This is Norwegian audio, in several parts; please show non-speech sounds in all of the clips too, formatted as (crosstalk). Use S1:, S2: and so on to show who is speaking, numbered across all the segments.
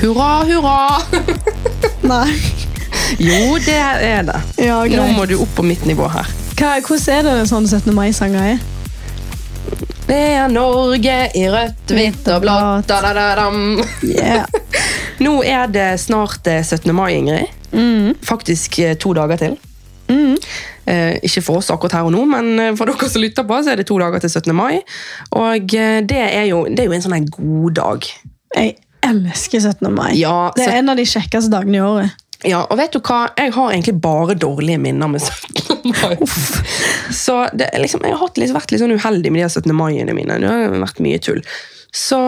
S1: Hurra, hurra!
S2: Nei.
S1: Jo, det er det.
S2: Ja,
S1: Nå
S2: greit.
S1: må du opp på mitt nivå her.
S2: Hva, hvordan er det sånn 17. mai-sanger er?
S1: Det er Norge i rødt, hvitt og blått. Da, da, da, dam.
S2: Yeah.
S1: Nå er det snart eh, 17. mai, Ingrid. Faktisk eh, to dager til. Eh, ikke for oss akkurat her og nå, men eh, for (laughs) dere som lytter på, så er det to dager til 17. mai. Og eh, det er jo, det er jo en sånn her god dag.
S2: Jeg elsker 17. mai.
S1: Ja,
S2: det
S1: så-
S2: er en av de kjekkeste dagene i året.
S1: Ja, og vet du hva? Jeg har egentlig bare dårlige minner med 17. mai. Så det, er liksom, jeg har hatt litt, vært litt sånn uheldig med de her 17. maiene mine. Det har vært mye tull. Så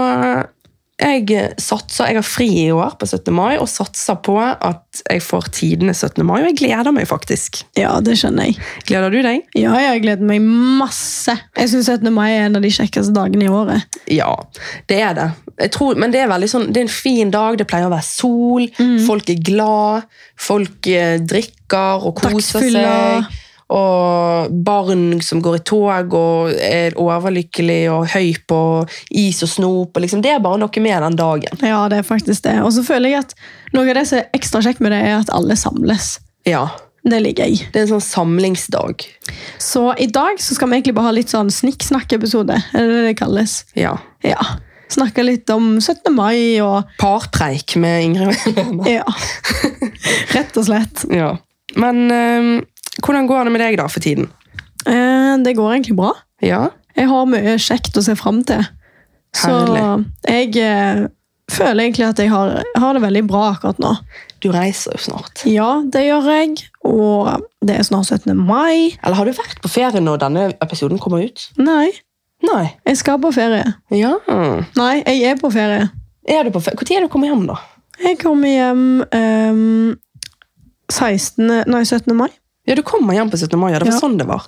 S1: jeg satser, jeg har fri i år på 17. mai, og satser på at jeg får tidenes 17. mai, og jeg gleder meg faktisk.
S2: Ja, det skjønner jeg.
S1: Gleder du deg?
S2: Ja, jeg gleder meg masse. Jeg syns 17. mai er en av de kjekkeste dagene i året.
S1: Ja, det er det. Jeg tror, men det er, veldig sånn, det er en fin dag, det pleier å være sol, folk er glad, folk eh, drikker og koser
S2: Dagsfylla.
S1: seg. Og barn som går i tog og er overlykkelige og høy på is og snop. Og liksom, det er bare noe med den dagen.
S2: Ja, det er faktisk det. Og så føler jeg at noe av det som er ekstra kjekt med det, er at alle samles.
S1: Ja,
S2: Det liker jeg.
S1: Det er en sånn samlingsdag.
S2: Så i dag så skal vi egentlig bare ha litt sånn snikksnakk-episode. Er det det det kalles?
S1: Ja.
S2: Ja. Snakke litt om 17. mai og
S1: Parpreik med Ingrid og Helene.
S2: Ja. (laughs) Rett og slett.
S1: (laughs) Ja. Men eh, hvordan går det med deg da for tiden?
S2: Eh, Det går egentlig bra.
S1: Ja?
S2: Jeg har mye kjekt å se fram til. Så
S1: Herlig.
S2: jeg eh, føler egentlig at jeg har, har det veldig bra akkurat nå.
S1: Du reiser jo snart.
S2: Ja, det gjør jeg. Og det er snart 17. mai.
S1: Eller har du vært på ferie når denne episoden kommer ut?
S2: Nei,
S1: Nei.
S2: jeg skal på ferie.
S1: Ja.
S2: Nei, jeg er på ferie.
S1: Er du på ferie? Når er du kommet hjem, da?
S2: Jeg kommer hjem ehm, 16. Nei, 17. mai.
S1: Ja, du kommer hjem på 17. mai. Ja. Mm. Det var
S2: Ja.
S1: sånn det var.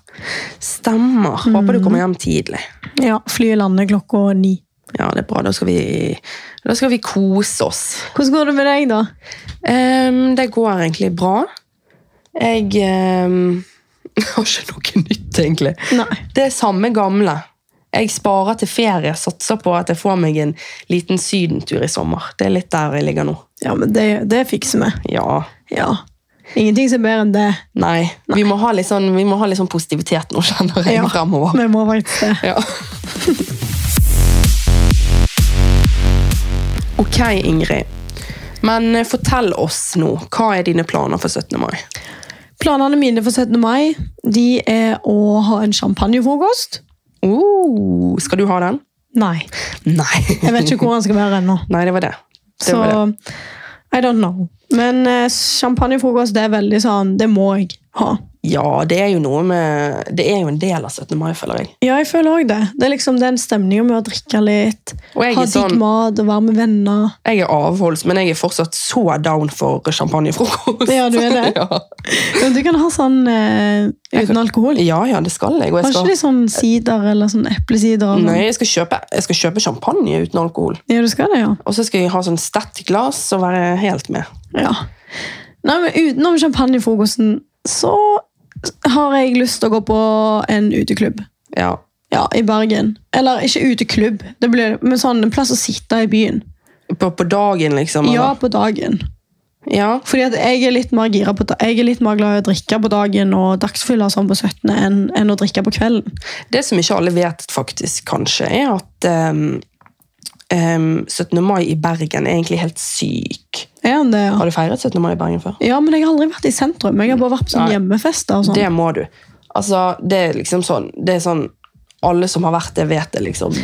S1: Stemmer. Håper du kommer hjem tidlig.
S2: Ja, Flyet lander klokka ni.
S1: Ja, det er bra. Da skal vi, da skal vi kose oss.
S2: Hvordan går det med deg, da?
S1: Ehm, det går egentlig bra. Jeg (laughs) ehm, har ikke noe nytt, egentlig.
S2: Nei.
S1: Det er samme gamle. Jeg sparer til ferie, satser på at jeg får meg en liten sydentur i sommer. Det er litt der jeg ligger nå.
S2: Ja, men det, det fikser vi.
S1: Ja,
S2: Ja. Ingenting som er bedre enn det.
S1: Nei. Vi må ha litt sånn, vi må ha litt sånn positivitet nå, kjenner jeg,
S2: Ja.
S1: fremover.
S2: Vi må faktisk det.
S1: Ja. (laughs) ok, Ingrid. Men eh, fortell oss nå, hva er dine planer for 17. mai?
S2: Planene mine for 17. mai de er å ha en champagnefrokost.
S1: Oh, skal du ha den?
S2: Nei.
S1: Nei.
S2: Jeg vet ikke hvor den skal være ennå.
S1: (laughs) Nei, det var det. (laughs) det,
S2: Så
S1: var det.
S2: I don't know. Men eh, champagnefrokost det er veldig sånn Det må jeg ha.
S1: Ja, det er jo noe med Det er jo en del av 17. mai, føler jeg.
S2: Ja, jeg føler òg det. Det er liksom den stemninga med å drikke litt,
S1: Og jeg
S2: ha
S1: er
S2: digg
S1: sånn-
S2: mat og være med venner.
S1: Jeg er avholds, men jeg er fortsatt så down for champagnefrokost.
S2: Ja, du er det?
S1: (laughs) ja.
S2: Men du kan ha sånn eh, uten alkohol.
S1: ja, ja, det skal jeg. Og jeg
S2: Har
S1: skal... Mm.
S2: ikke de sånn sider eller sånn eplesider? og sånn?
S1: Nei, jeg skal, kjøpe, jeg skal kjøpe champagne uten alkohol.
S2: Ja, du skal det, ja.
S1: Og så skal jeg ha sånn glass og være helt med.
S2: ja. Nei, men utenom champagnefrokosten så har jeg lyst til å gå på en uteklubb.
S1: Ja.
S2: Ja, i Bergen. Eller ikke uteklubb, det blir, men sånn en plass å sitte i byen.
S1: På, på dagen, liksom?
S2: Ja,
S1: eller?
S2: på dagen.
S1: ja.
S2: Fordi at jeg er litt mer gira på da- Jeg er litt mer glad i å drikke på dagen og dagsfylla sånn på 17. enn enn å drikke på kvelden.
S1: Det som ikke alle vet, faktisk, kanskje, er at ehm, ehm, 17. mai i Bergen er egentlig helt syk.
S2: Er han det? Ja.
S1: Har du feiret 17. mai i Bergen før?
S2: ja, men jeg har aldri vært i sentrum. Jeg har bare vært på sånn
S1: Nei.
S2: hjemmefester og sånn.
S1: Det må du. Altså, det er liksom sånn, det er sånn alle som har vært det, vet det, liksom.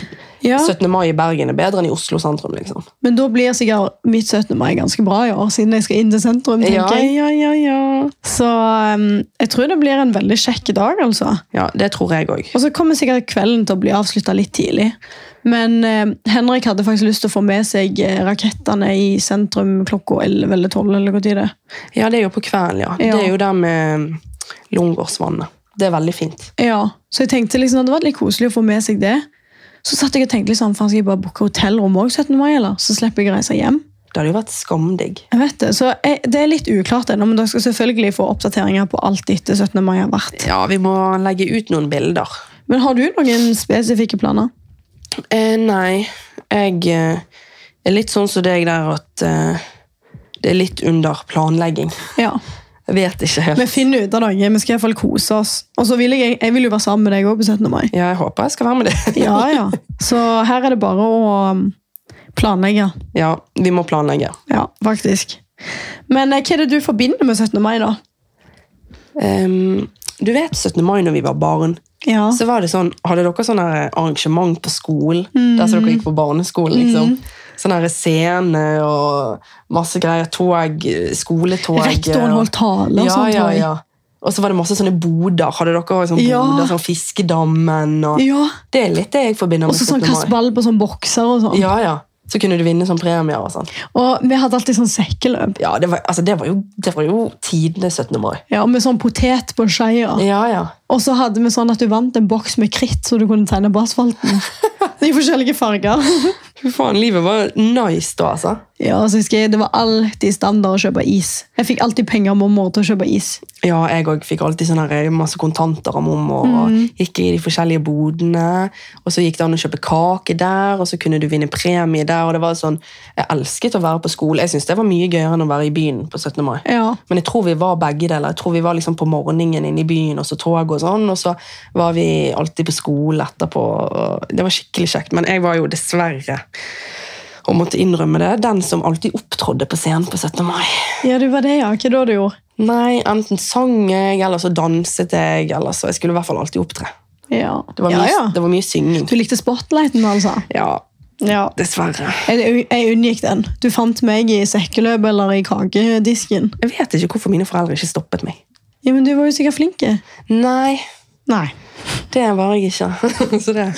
S2: Ja,
S1: 17. mai i Bergen er bedre enn i Oslo sentrum, liksom.
S2: men da blir sikkert mitt 17. mai ganske bra i år, siden jeg skal inn til sentrum. tenker
S1: Ja,
S2: jeg.
S1: ja, ja, ja.
S2: Så um, jeg tror det blir en veldig kjekk dag, altså.
S1: Ja, det tror jeg òg.
S2: Og så kommer sikkert kvelden til å bli avslutta litt tidlig. Men eh, Henrik hadde faktisk lyst til å få med seg eh, rakettene i sentrum klokka 11 eller 12. eller hva tid det er.
S1: Ja, det er jo på kvelden, ja.
S2: Ja.
S1: Det er jo der med Lungårdsvannet. Det er veldig fint.
S2: Ja, Så jeg tenkte liksom, at det var litt koselig å få med seg det. Så satt jeg og tenkte liksom, faen skal jeg bare booke hotellrom også 17. mai, eller? Så slipper jeg å reise hjem.
S1: Det hadde jo vært skamdigg.
S2: Jeg vet det, så jeg, Det er litt uklart ennå, men dere skal selvfølgelig få oppdateringer på alt etter 17. mai har vært.
S1: Ja, vi må legge ut noen bilder.
S2: Men har du noen spesifikke planer?
S1: Eh, nei, jeg, eh, Det er litt sånn som deg der at eh, det er litt under planlegging.
S2: Ja.
S1: Jeg vet ikke helt.
S2: Vi finner ut av noe. Vi skal i hvert fall kose oss. Og så vil jeg, jeg vil jo være sammen med deg òg på 17. mai.
S1: Ja, jeg håper jeg skal være med det.
S2: Ja, ja. Så her er det bare å um, planlegge.
S1: (laughs) Ja, vi må planlegge.
S2: Ja, faktisk. Men eh, hva er det du forbinder med 17. mai, da?
S1: Ehm, du vet 17. mai når vi var barn,
S2: Ja.
S1: så var det sånn, hadde dere sånn her arrangement på skolen, der som dere gikk på barneskolen, liksom. Sånn her scene og masse greier, tog, skoletog.
S2: Rektoren holdt tale og
S1: eh, ja,
S2: sånt.
S1: Ja,
S2: tror jeg.
S1: ja. Og så var det masse sånne boder. Hadde dere også sånne
S2: Ja.
S1: boder, sånn Fiskedammen og
S2: Ja.
S1: Det er litt det jeg forbinder
S2: Og
S1: med
S2: så sånn
S1: 17.
S2: kast
S1: mai.
S2: ball på sånn bokser og sånn.
S1: Ja, ja. Så kunne du vinne sånn premier og sånn.
S2: Og vi hadde alltid sånn sekkeløp.
S1: Ja, det var, altså, det var jo, det var jo tidenes 17. mai.
S2: Ja, og Med sånn potet på en skeie.
S1: Ja, ja.
S2: Og så hadde vi sånn at du vant en boks med kritt, så du kunne tegne på (laughs) asfalten. I forskjellige farger.
S1: Fy faen, livet var nice da, altså.
S2: Ja, og så husker jeg, Det var alltid standard å kjøpe is. Jeg fikk alltid penger av mormor til å kjøpe is.
S1: Ja, jeg òg fikk alltid sånne her, masse kontanter av mormor. og Gikk i de forskjellige bodene, og så gikk det an å kjøpe kake der, og så kunne du vinne premie der. og det var sånn, Jeg elsket å være på skole. Jeg synes det var mye gøyere enn å være i byen på 17. mai.
S2: Ja,
S1: Men jeg tror vi var begge deler. Jeg tror vi var liksom på morgenen inne i byen, og så tog og sånn, og så var vi alltid på skole etterpå. og Det var skikkelig kjekt, men jeg var jo dessverre, og måtte innrømme det, den som alltid opptrådde på scenen på 17. mai.
S2: ja du var det, ja. Hva da du gjorde?
S1: Nei, enten sang jeg, eller så danset jeg, eller så Jeg skulle i hvert fall alltid opptre.
S2: Ja.
S1: Det var mye,
S2: ja, ja.
S1: Det var mye synging.
S2: Du likte spotlighten, altså?
S1: Ja,
S2: Ja.
S1: dessverre.
S2: Jeg, jeg unngikk den. Du fant meg i sekkeløp eller i kakedisken.
S1: Jeg vet ikke hvorfor mine foreldre ikke stoppet meg.
S2: Ja, men du var jo sikkert flink. jeg.
S1: Nei,
S2: Nei.
S1: det var jeg ikke. (laughs) så det...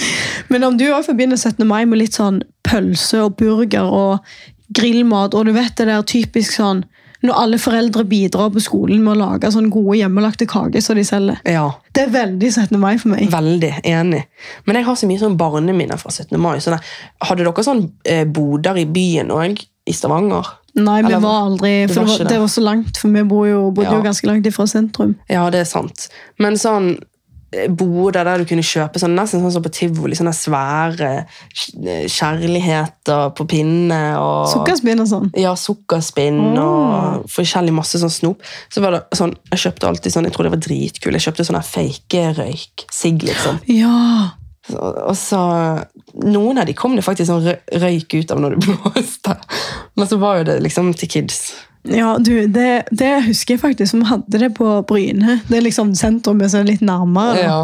S2: Men om du også forbinder 17. mai med litt sånn pølse og burger og grillmat, og du vet det der typisk sånn når alle foreldre bidrar på skolen med å lage sånn gode hjemmelagte kaker som de selger.
S1: Ja.
S2: Det er veldig 17. mai for meg.
S1: Veldig enig. Men jeg har så mye sånn barneminner fra 17. mai. Sånn der, hadde dere sånn eh, boder i byen òg? I Stavanger?
S2: Nei, vi
S1: Eller-
S2: var aldri
S1: Det
S2: For
S1: var
S2: det
S1: ikke
S2: var,
S1: det.
S2: det var så langt, for vi bor jo, bodde
S1: Ja.
S2: jo ganske langt ifra sentrum.
S1: Ja, det er sant. Men sånn eh, boder der du kunne kjøpe sånn, nesten sånn som på tivoli. Sånne svære kj- eh, kjærligheter på pinne og
S2: Sukkerspinn og sånn.
S1: Ja, sukkerspinn og forskjellig masse sånn snop. Så var det sånn, Jeg kjøpte alltid sånn, jeg tror det var dritkult. Jeg kjøpte sånn her fake røyk. Sigg, liksom.
S2: Ja.
S1: Så- Og så, noen av de kom det faktisk sånn rø- røyk ut av når du (laughs) blåste. Men så var jo det liksom til kids.
S2: Ja, du, det, det husker jeg faktisk. Vi hadde det på Bryne. Det er liksom sentrumet som er litt nærmere. da.
S1: Ja.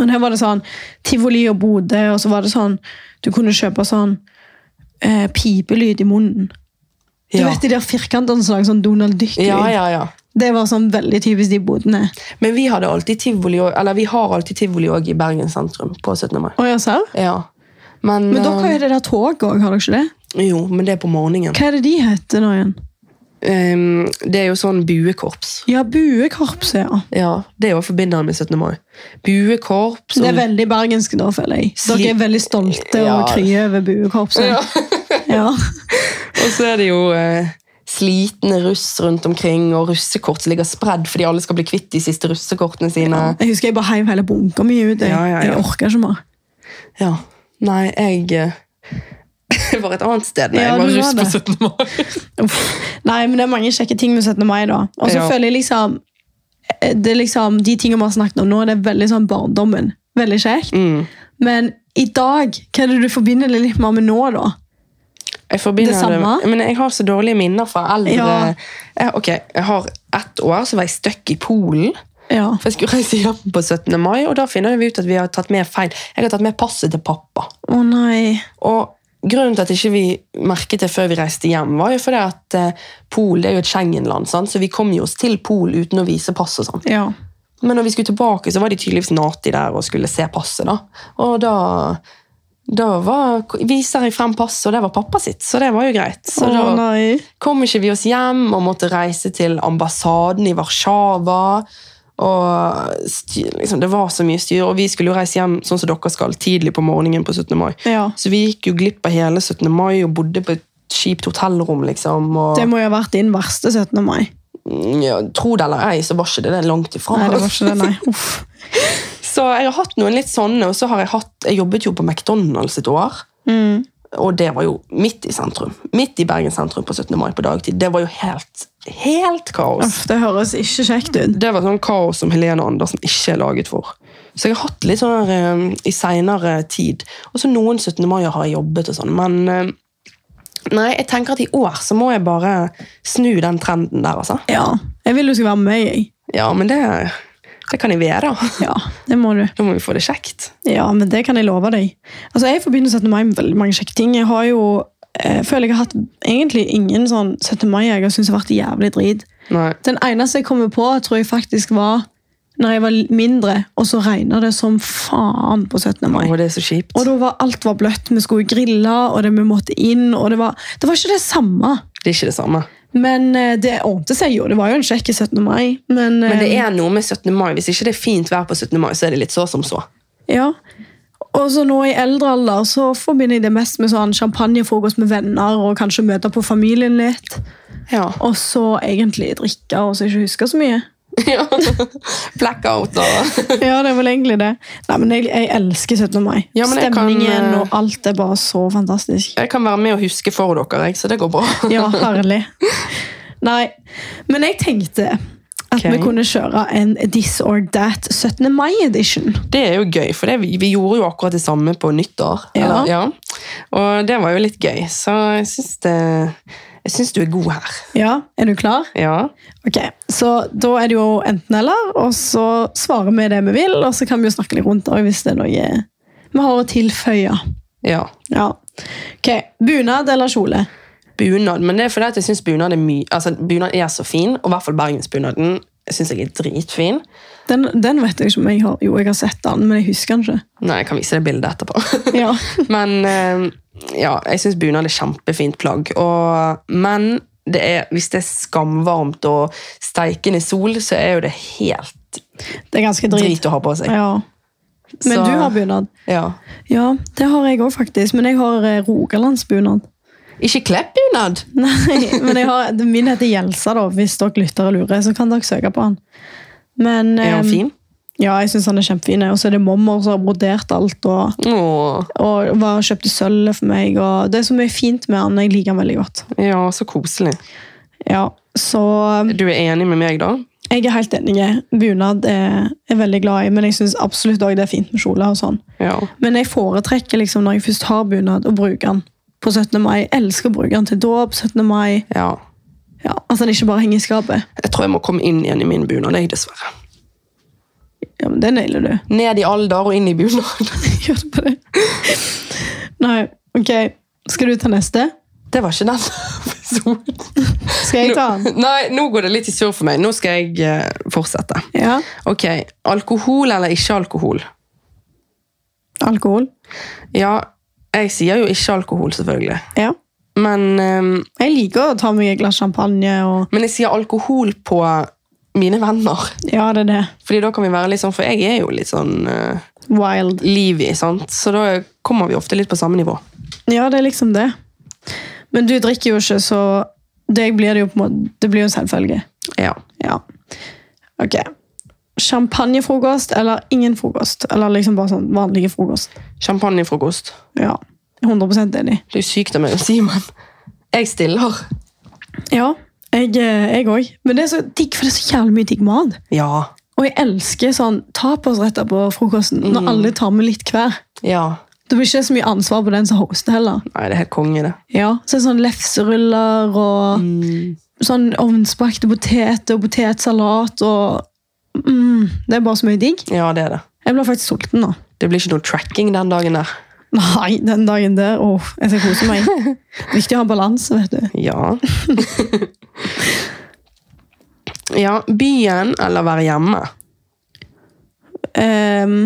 S2: Og der var det sånn tivoli og Bodø, og så var det sånn Du kunne kjøpe sånn eh, pipelyd i munnen. Du
S1: Ja.
S2: vet de der firkantene som lager sånn Donald Duck-lyd?
S1: ja, ja, ja.
S2: Det var sånn veldig typisk de bodene.
S1: Men vi hadde alltid tivoli, og- eller vi har alltid tivoli òg i Bergen sentrum på 17. mai.
S2: Å, ja, serr?
S1: Ja. Men,
S2: Men dere har jo det der toget òg, har dere ikke det?
S1: eh, Jo, men det er på morgenen.
S2: Hva er det de heter nå igjen?
S1: Ehm, det er jo sånn buekorps.
S2: Ja, Buekorpset, ja.
S1: Ja, Det er jo forbindende med 17. mai. Buekorps
S2: Det
S1: og
S2: er veldig bergensk, da, føler jeg. Dere er veldig stolte og
S1: Ja.
S2: kryer over Buekorpset.
S1: Ja.
S2: (laughs) Ja.
S1: Og så er det jo eh, slitne russ rundt omkring, og russekort som ligger spredd fordi alle skal bli kvitt de siste russekortene sine.
S2: Jeg husker jeg bare heiv hele bunka mi ut. Jeg,
S1: Ja, ja, ja.
S2: jeg orka ikke mer.
S1: Ja. Nei, jeg eh, (laughs) var et annet sted da
S2: Ja,
S1: jeg var
S2: du
S1: russ
S2: var
S1: på 17. mai.
S2: Uff. (laughs) Nei, men det er mange kjekke ting med 17. mai, da. Og
S1: Ja.
S2: så føler jeg liksom, eh, det er liksom De tingene vi har snakket om nå, det er veldig sånn barndommen. Veldig kjekt.
S1: Mm.
S2: Men i dag, hva er det du forbinder det litt mer med nå, da?
S1: Jeg forbinder
S2: Det samme?
S1: Men jeg har så dårlige minner fra eldre
S2: Ja.
S1: jeg, Ok, jeg har ett år, så var jeg støkk i Polen.
S2: Ja.
S1: For jeg skulle reise hjem på 17. mai, og da finner vi ut at vi har tatt med feil. Jeg har tatt med passet til pappa.
S2: Å nei.
S1: Og grunnen til at ikke vi merket det før vi reiste hjem, var jo fordi at eh, Pol det er jo et Schengen-land, sant? så vi kom jo oss til Pol uten å vise pass og sånn.
S2: Ja.
S1: Men når vi skulle tilbake, så var de tydeligvis nati der og skulle se passet. da. Og da, da var, viser jeg frem passet, og det var pappa sitt, så det var jo greit. Så
S2: Å
S1: da
S2: nei.
S1: kom ikke vi oss hjem og måtte reise til ambassaden i Warszawa. Og styr, liksom, Det var så mye styr, og vi skulle jo reise hjem sånn som dere skal, tidlig på morgenen på 17. mai.
S2: Ja.
S1: Så vi gikk jo glipp av hele 17. mai og bodde på et kjipt hotellrom, liksom. Og,
S2: Det må jo ha vært din verste 17. mai.
S1: Mm, ja, tro det eller ei, så var ikke det det langt ifra.
S2: Nei, det var ikke det,
S1: (laughs)
S2: nei. Uff. Mm.
S1: Så jeg har hatt noen litt sånne, og så har jeg hatt Jeg jobbet jo på McDonald's et år. Og det var jo midt i sentrum. Midt i Bergen sentrum på 17. mai på dagtid. Det var jo helt, helt kaos.
S2: Uff, det høres ikke kjekt ut.
S1: Det var sånn kaos som Helene Andersen ikke er laget for. Så jeg har hatt litt sånn her, eh, i seinere tid. Og så noen 17. mai har jeg jobbet og sånn, men eh, Nei, jeg tenker at i år så må jeg bare snu den trenden der, altså.
S2: Ja, jeg vil du skal være med, jeg.
S1: Ja, men det, det kan jeg være.
S2: Ja, det må du.
S1: (laughs) Da må vi få det kjekt.
S2: Ja, men det kan jeg love deg. Altså, Jeg forbinder 17. mai med veldig mange kjekke ting. Jeg har jo, eh, føler jeg har hatt egentlig ingen sånn 17. mai jeg har syntes har vært jævlig drit.
S1: Nei.
S2: Den eneste jeg kommer på, tror jeg faktisk var når jeg var mindre, og så regna det som faen på 17. mai.
S1: Å, det er så kjipt.
S2: Og da var alt var bløtt. Vi skulle grille, og det, vi måtte inn. og Det var, det var ikke det samme.
S1: Det er ikke det samme.
S2: Men eh, det ordnet seg jo. Det var jo en kjekk 17. mai. Men,
S1: Men det er noe med 17. mai. Hvis ikke det er fint vær på 17. mai, så er det litt så som så.
S2: Ja. Og så nå i eldre alder så forbinder jeg det mest med sånn champagnefrokost med venner og kanskje møter på familien litt.
S1: (laughs) Ja.
S2: Og så egentlig drikke og så ikke huske så mye. (laughs)
S1: Blackout (laughs) og
S2: Ja, det er vel egentlig det. Nei, men jeg, jeg elsker 17. mai.
S1: Ja, men jeg kan,
S2: Stemningen
S1: eh,
S2: og alt er bare så fantastisk.
S1: Jeg kan være med og huske for dere, jeg, så det går bra.
S2: Ja, herlig. Nei, men jeg tenkte at
S1: Ok.
S2: vi kunne kjøre en This or That 17. mai-edition.
S1: Det er jo gøy, for det, vi, vi gjorde jo akkurat det samme på nyttår.
S2: Ja.
S1: ja. Og det var jo litt gøy, så jeg syns det jeg syns du er god her.
S2: Ja, er du klar?
S1: Ja.
S2: Ok, så da er det jo enten eller, og så svarer vi det vi vil, og så kan vi jo snakke litt rundt det hvis det er noe vi har å tilføye.
S1: ja.
S2: Ja. Ok, bunad eller kjole?
S1: Bunad. Men det er fordi at jeg syns bunad er mye Altså, bunad er så fin, og i hvert fall bergensbunaden syns jeg er dritfin.
S2: Den, den vet jeg ikke om jeg har Jo, jeg har sett den, men jeg husker den ikke.
S1: Nei, jeg kan vise deg bildet etterpå.
S2: (laughs)
S1: (laughs)
S2: Ja.
S1: Men eh, ja, jeg syns bunad er kjempefint plagg. Og, men det er, hvis det er skamvarmt og steikende sol, så er jo det helt
S2: Det er ganske drit.
S1: drit å ha på seg.
S2: Ja. Men
S1: Så-
S2: du har bunad?
S1: Ja.
S2: Ja, det har jeg òg, faktisk. Men jeg har eh, rogalandsbunad. (laughs)
S1: Ikke klepp-bunad!
S2: Nei, men jeg har, min heter Gjelsa, da, hvis dere lytter og lurer. Så kan dere søke på den. Men
S1: Er
S2: eh,
S1: han fin?
S2: Ja, jeg syns han er kjempefin. Og så er det mormor som har brodert alt. Og,
S1: Åh,
S2: og var, kjøpte sølvet for meg. Og det er så mye fint med han. Jeg liker han veldig godt.
S1: ja, så koselig.
S2: Ja, Så um,
S1: Du er enig med meg, da?
S2: jeg er helt enig. Bunad er jeg veldig glad i, men jeg syns absolutt også det er fint med kjole. og sånn.
S1: Ja.
S2: Men jeg foretrekker liksom når jeg først har bunad, å bruke den på 17. mai. Jeg elsker å bruke den til dåp 17. mai.
S1: ja.
S2: Ja, altså den ikke bare henger i skapet.
S1: Jeg tror jeg må komme inn igjen i min bunad, jeg, dessverre.
S2: Ja, men Det nailer du. (laughs)
S1: Ned i alder og inn i bunad.
S2: Gjør det på det. Nei, ok. Skal du ta neste?
S1: (laughs) Det var ikke den episoden.
S2: Skal jeg ta den?
S1: (laughs) Nei, nå går det litt i surr for meg. Nå skal jeg eh, fortsette.
S2: Ja.
S1: Ok, alkohol eller ikke alkohol?
S2: Alkohol.
S1: Ja, jeg sier jo ikke alkohol selvfølgelig.
S2: Ja.
S1: Men, ehm,
S2: Jeg liker å ta meg et glass champagne og
S1: men jeg sier alkohol på mine venner.
S2: Ja, det er det.
S1: Fordi da kan vi være litt sånn, for jeg er jo litt sånn uh,
S2: Wild.
S1: livig, sant? Så da kommer vi ofte litt på samme nivå.
S2: Ja, det er liksom det. Men du drikker jo ikke, så det blir det jo på en måte Det blir jo en selvfølge.
S1: Ja.
S2: Ja. Ok. Champagnefrokost eller ingen frokost? Eller liksom bare sånn vanlige frokost?
S1: Champagnefrokost.
S2: Ja. 100 enig.
S1: Det er jo sykt av meg å si, men jeg stiller.
S2: Ja, jeg òg. Men det er så digg, for det er så jævlig mye digg mat.
S1: Ja.
S2: Og jeg elsker sånn tapasretter på frokosten, når alle tar med litt hver.
S1: Ja.
S2: Det blir ikke så mye ansvar på den som hoster heller.
S1: Nei, det er helt konge det.
S2: Ja, så er det sånn lefseruller og sånn ovnsbakte poteter og potetsalat og mm, Det er bare så mye digg.
S1: Ja, det er det.
S2: Jeg ble faktisk sulten nå. (laughs)
S1: Det blir ikke noe tracking den dagen der.
S2: Nei, den dagen der. Åh, jeg skal kose meg. Viktig å ha balanse, vet du.
S1: Ja. (laughs) ja, byen eller være hjemme?
S2: Ehm,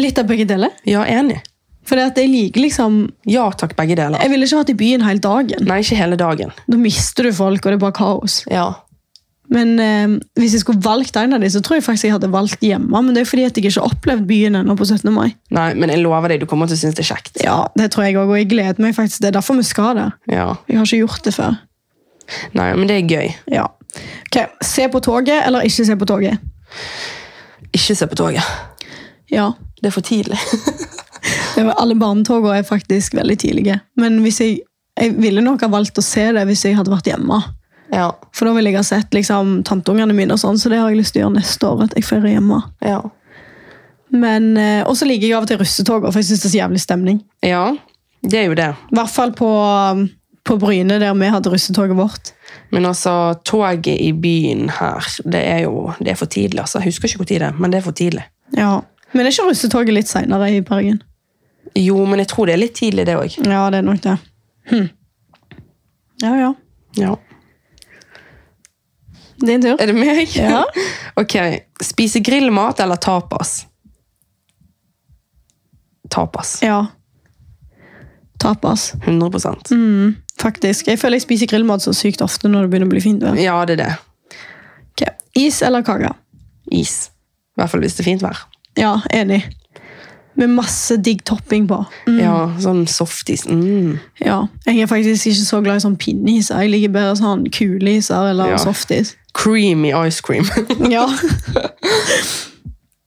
S2: litt av begge deler.
S1: Ja, enig.
S2: For det at jeg liker liksom
S1: Ja takk, begge deler.
S2: Jeg ville ikke hatt i byen hele dagen.
S1: Nei, ikke hele dagen.
S2: Da mister du folk, og det er bare kaos.
S1: Ja.
S2: Men ehm, hvis jeg skulle valgt en av de, så tror jeg faktisk jeg hadde valgt hjemme. Men det er fordi at jeg ikke har opplevd byen ennå på 17. mai.
S1: Nei, men jeg lover deg, du kommer til å synes det er kjekt.
S2: Ja, det tror jeg også, og jeg gleder meg faktisk. Det er derfor vi skal der.
S1: Ja.
S2: Jeg har ikke gjort det før.
S1: Nei, men det er gøy.
S2: Ja. Ok, Se på toget eller ikke se på toget?
S1: Ikke se på toget.
S2: Ja.
S1: Det er for tidlig.
S2: Det var- Alle barnetogene er faktisk veldig tidlige. Men hvis jeg, jeg ville nok ha valgt å se det hvis jeg hadde vært hjemme.
S1: Ja,
S2: For da ville jeg ha sett liksom, tanteungene mine, og sånn, så det har jeg lyst til å gjøre neste år. at jeg feirer hjemme.
S1: ja.
S2: Men, eh, Og så liker jeg av og til russetog, for jeg syns det er så jævlig stemning.
S1: Ja, det er jo det.
S2: I hvert fall på, um, på Bryne, der vi hadde russetoget vårt.
S1: Men altså, toget i byen her, det er jo det er for tidlig. altså. Jeg husker ikke hvor tid det er, men det er for tidlig.
S2: Ja. Men er ikke russetoget litt seinere i Bergen?
S1: Jo, men jeg tror det er litt tidlig, det òg.
S2: Ja, det er nok det. Hm. Ja, ja.
S1: Ja.
S2: Din tur.
S1: Er det meg?
S2: Ja.
S1: (laughs) ok. Spise grillmat eller tapas? Tapas.
S2: Ja. Tapas.
S1: 100
S2: Mm, faktisk. Jeg føler jeg spiser grillmat så sykt ofte når det begynner å bli fint vær.
S1: Ja, det er det.
S2: Ok. Is eller kake?
S1: Is. I hvert fall hvis det er fint vær.
S2: Ja, enig. Med masse digg topping på. Mm,
S1: Ja, Sånn softis. Mm.
S2: ja. Jeg er faktisk ikke så glad i sånn pinneiser. Jeg liker bedre sånn kuleiser eller
S1: Ja.
S2: softis.
S1: Creamy ice cream. (laughs)
S2: Ja.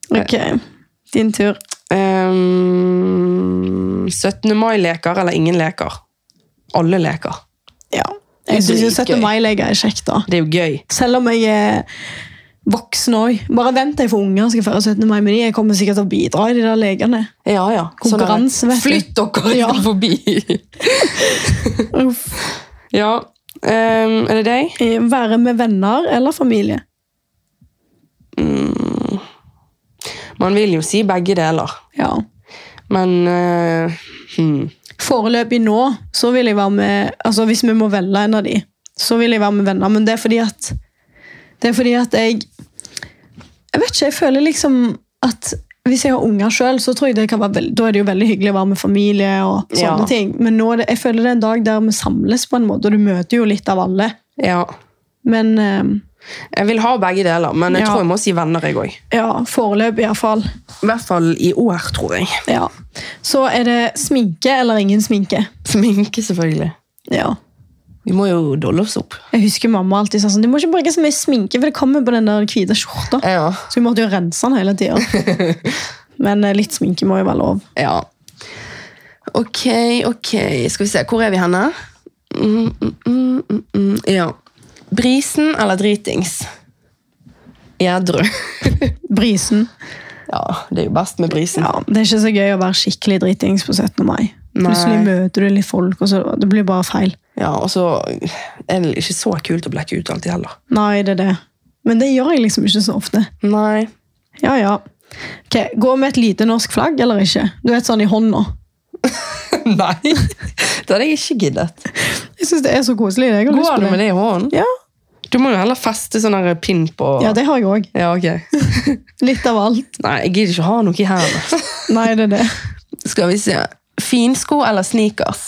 S2: ok. Din tur.
S1: Ehm, 17. mai-leker eller ingen leker? Alle leker.
S2: Ja.
S1: Det
S2: Jeg
S1: er
S2: syns jo 17.
S1: gøy.
S2: mai-leker er kjekt, da.
S1: Det er jo gøy.
S2: Selv om jeg er voksen òg. Bare vent til jeg får unger, skal jeg feire 17. mai med de. Jeg kommer sikkert til å bidra i de der lekene.
S1: Ja, ja.
S2: Konkurranse,
S1: Sånn er det.
S2: vet du.
S1: Flytt dere
S2: Ja. (laughs)
S1: forbi!
S2: Uff.
S1: ja. ehm, er det deg?
S2: Eh, Være med venner eller familie?
S1: Man vil jo si begge deler,
S2: Ja.
S1: men eh, hmm.
S2: Foreløpig nå, så vil jeg være med altså Hvis vi må velge en av de, så vil jeg være med venner. Men det er fordi at Det er fordi at jeg Jeg vet ikke, jeg føler liksom at hvis jeg har unger sjøl, så tror jeg det kan være veld, da er det jo veldig hyggelig å være med familie. og sånne
S1: Ja.
S2: ting. Men nå er det, jeg føler det er en dag der vi samles, på en måte, og du møter jo litt av alle.
S1: Ja.
S2: Men eh,
S1: Jeg vil ha begge deler, men jeg
S2: Ja.
S1: tror jeg må si venner, jeg òg.
S2: ja, foreløpig iallfall.
S1: I hvert fall i år, tror jeg.
S2: Ja. Så er det sminke eller ingen sminke.
S1: Sminke, selvfølgelig.
S2: Ja.
S1: Vi må jo dolle oss opp.
S2: Jeg husker mamma alltid sa sånn, du må ikke bruke så mye sminke, for det kommer på den der hvite skjorta.
S1: Ja.
S2: Så vi måtte jo rense den hele tida.
S1: (laughs)
S2: Men eh, litt sminke må jo være lov.
S1: ja. Ok, ok. Skal vi se, hvor er vi henne? Mm, mm, mm, mm, mm. Ja. Brisen eller dritings? Edru.
S2: Brisen.
S1: (laughs) Ja, det er jo best med brisen.
S2: Ja, Det er ikke så gøy å være skikkelig dritings på 17. mai.
S1: Nei.
S2: Plutselig møter du litt folk, og så det blir bare feil.
S1: Ja, og så er det ikke så kult å blekke ut alltid heller.
S2: Nei, det er det. Men det gjør jeg liksom ikke så ofte.
S1: Nei.
S2: Ja, ja. Ok, Gå med et lite norsk flagg eller ikke? Du vet sånn i hånda.
S1: (laughs) (laughs) Nei. Det hadde jeg ikke giddet.
S2: Jeg syns det er så koselig. Jeg har lyst
S1: Går
S2: på
S1: du med det i hånden?
S2: Ja.
S1: Du må jo heller feste sånn der pinn på
S2: ja, det har jeg òg.
S1: Ja, ok.
S2: Litt av alt.
S1: Nei, jeg gidder ikke ha noe i hendene. (laughs)
S2: Nei, det er det.
S1: Skal vi se. Finsko eller sneakers?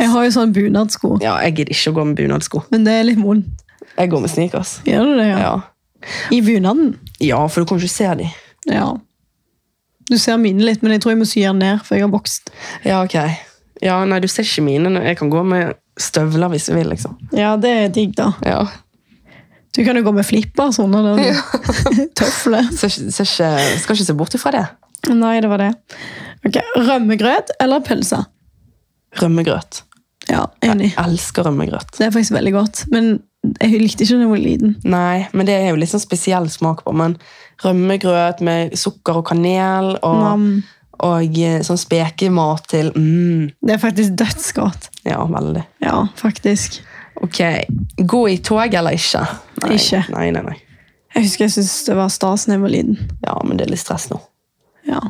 S2: Jeg har jo sånn bunadsko,
S1: Ja, jeg gidder ikke å gå med bunadsko.
S2: men det er litt vondt.
S1: Jeg går med sneakers.
S2: Gjør du det, ja?
S1: Ja.
S2: I bunaden?
S1: ja, for du kan jo ikke se dem.
S2: Ja. Du ser mine litt, men jeg tror jeg må sy den ned, for jeg har vokst.
S1: Ja, ok. Ja, nei, du ser ikke mine. Jeg kan gå med støvler hvis jeg vil, liksom.
S2: Ja, det er digg, da.
S1: Ja.
S2: Du kan jo gå med flipper sånn, eller (laughs) tøfler.
S1: Ser, ikke- ser ikke, skal ikke se bort ifra det.
S2: Nei, det var det. Ok, Rømmegrøt eller pølse?
S1: Rømmegrøt.
S2: Ja, enig.
S1: Jeg elsker rømmegrøt.
S2: Det er faktisk veldig godt, men jeg likte ikke da jeg var liten.
S1: Nei, men det er jo litt sånn spesiell smak på. Men rømmegrøt med sukker og kanel og,
S2: Nam.
S1: og eh, sånn spekemat til mm,
S2: Det er faktisk dødsgodt.
S1: Ja, veldig.
S2: Ja, faktisk.
S1: Ok. Gå i tog eller ikke?
S2: Ikke.
S1: Nei, nei, nei.
S2: Jeg husker jeg syntes det var stas da jeg var liten.
S1: Ja, men det er litt stress nå.
S2: Ja.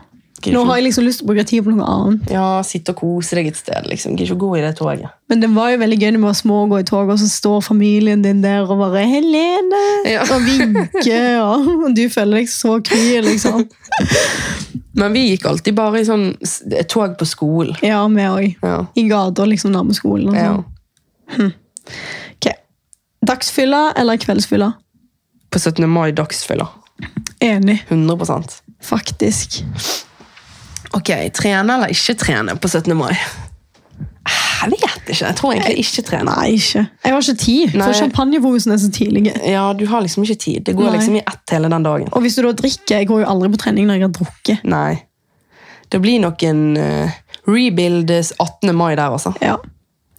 S1: Gidder
S2: Nå
S1: ikke-
S2: har jeg liksom lyst til å bruke tid på noe annet.
S1: Ja, sitte og kose deg et sted. liksom. Gidder ikke å gå i det toget.
S2: Men det var jo veldig gøy når vi var små og gå i tog, og så står familien din der og bare 'Helene!'
S1: (laughs) Ja.
S2: og vinker, og, og du føler deg så kry, liksom.
S1: Men vi gikk alltid bare i sånn s- tog på skolen.
S2: Ja, vi òg.
S1: Ja. Mhm.
S2: I gata, liksom, nærme skolen. Og
S1: ja.
S2: sånn. Ok. Dagsfylla eller kveldsfylla?
S1: På 17. mai dagsfylla.
S2: Enig,
S1: 100
S2: faktisk.
S1: Ok, trene eller ikke trene på 17. mai? Ah, Jeg vet ikke. Jeg tror egentlig ikke trene.
S2: Nei, ikke. Jeg har ikke tid,
S1: Nei.
S2: for champagnebrusene er så tidlige.
S1: Ja, du har liksom ikke tid. Det går
S2: Nei.
S1: liksom i ett hele den dagen.
S2: Og hvis du da drikker Jeg går jo aldri på trening når jeg har drukket.
S1: Nei. det blir nok en eh, rebuildes 18. mai der, altså.
S2: Ja.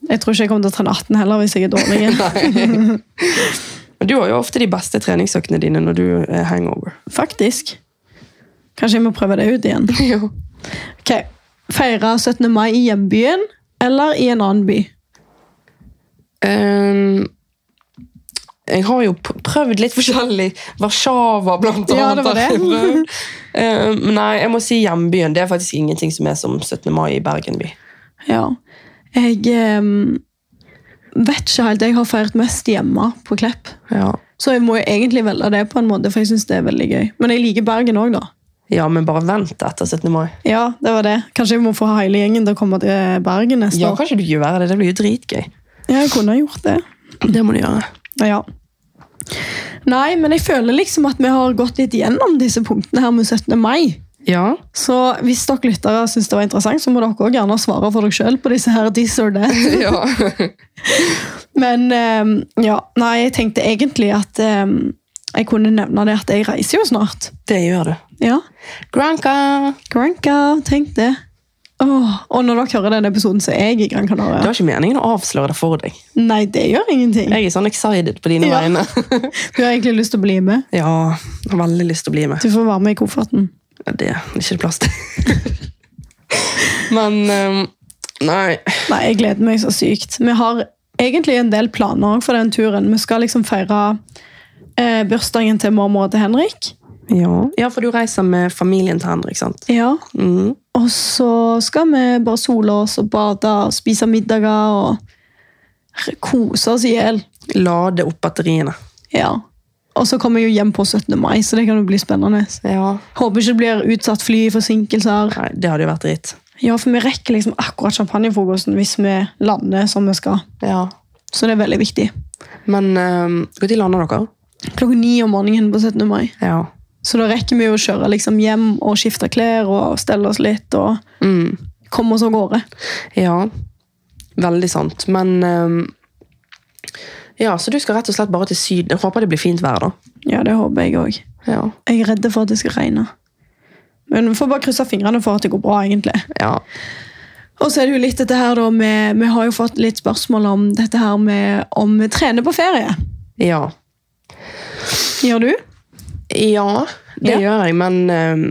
S2: Jeg tror ikke jeg kommer til å trene 18 heller hvis jeg er dårlig. igjen.
S1: Men du har jo ofte de beste treningsøktene dine når du er hangover.
S2: Faktisk. Kanskje jeg må prøve det ut igjen.
S1: (laughs) Jo.
S2: Ok, Feire 17. mai i hjembyen eller i en annen by?
S1: Ehm, jeg har jo p- prøvd litt forskjellig. Warszawa, blant annet.
S2: Ja, det var det.
S1: har jeg prøvd. Ehm, nei, jeg må si hjembyen. Det er faktisk ingenting som er som 17. mai i Bergen by.
S2: Ja. Jeg em, vet ikke helt. Jeg har feiret mest hjemme på Klepp.
S1: Ja.
S2: Så jeg må jo egentlig velge det på en måte, for jeg syns det er veldig gøy. Men jeg liker Bergen òg, da.
S1: ja, men bare vent etter 17. mai.
S2: Ja, det var det. Kanskje jeg må få hele gjengen til å komme til Bergen neste
S1: Ja,
S2: år.
S1: kanskje du gjør det. Det blir jo dritgøy.
S2: Ja, jeg kunne ha gjort det.
S1: Det må du gjøre.
S2: Ja. Nei, men jeg føler liksom at vi har gått litt gjennom disse punktene her med 17. mai.
S1: Ja.
S2: Så hvis dere lyttere syns det var interessant, så må dere også gjerne svare for dere sjøl på disse her this or that.
S1: (laughs) ja.
S2: Men ehm, ja, nei, jeg tenkte egentlig at ehm, jeg kunne nevne det at jeg reiser jo snart.
S1: Det gjør du.
S2: Ja.
S1: Granca!
S2: Granca, tenk det. Åh, og når dere hører denne episoden, så er jeg i Gran
S1: Det
S2: Canaria.
S1: var ikke meningen å avsløre det for deg.
S2: Nei, det gjør ingenting.
S1: Jeg er sånn excited på dine
S2: Ja.
S1: vegne.
S2: Du har egentlig lyst til å bli med.
S1: (laughs) ja, jeg har veldig lyst til å bli med.
S2: Du får være med i kofferten.
S1: Ja, Det er ikke plass til. (laughs) Men ehm, Nei.
S2: Nei, jeg gleder meg så sykt. Vi har egentlig en del planer også for den turen. Vi skal liksom feire eh, bursdagen til mormor og til Henrik.
S1: Ja. for du reiser med familien til Henrik, sant?
S2: Ja.
S1: Mm.
S2: Og så skal vi bare sole oss og bade og spise middager og r- kose oss i hjel.
S1: Lade opp batteriene.
S2: Ja. Og så kommer jeg jo hjem på 17. mai, så det kan jo bli spennende.
S1: Ja.
S2: Håper ikke det blir utsatt flyforsinkelser.
S1: Nei, det hadde jo vært dritt.
S2: Ja, for vi rekker liksom akkurat champagnefrokosten hvis vi lander som vi skal.
S1: Ja.
S2: Så det er veldig viktig.
S1: Men ehm, Når lander dere?
S2: Klokka ni om morgenen på 17. mai.
S1: Ja.
S2: Så da rekker vi jo å kjøre liksom hjem og skifte klær og stelle oss litt og
S1: Mm.
S2: komme oss av gårde.
S1: ja. Veldig sant. Men ehm, Ja, så du skal rett og slett bare til Syden. Jeg håper det blir fint vær, da.
S2: Ja, det håper jeg òg.
S1: Ja.
S2: Jeg er redd for at det skal regne. Men vi får bare krysse fingrene for at det går bra, egentlig.
S1: ja.
S2: Og så er det jo litt dette her da med, Vi har jo fått litt spørsmål om dette her med om vi trener på ferie.
S1: Ja.
S2: Gjør du?
S1: Ja, det
S2: Ja.
S1: gjør jeg, men eh,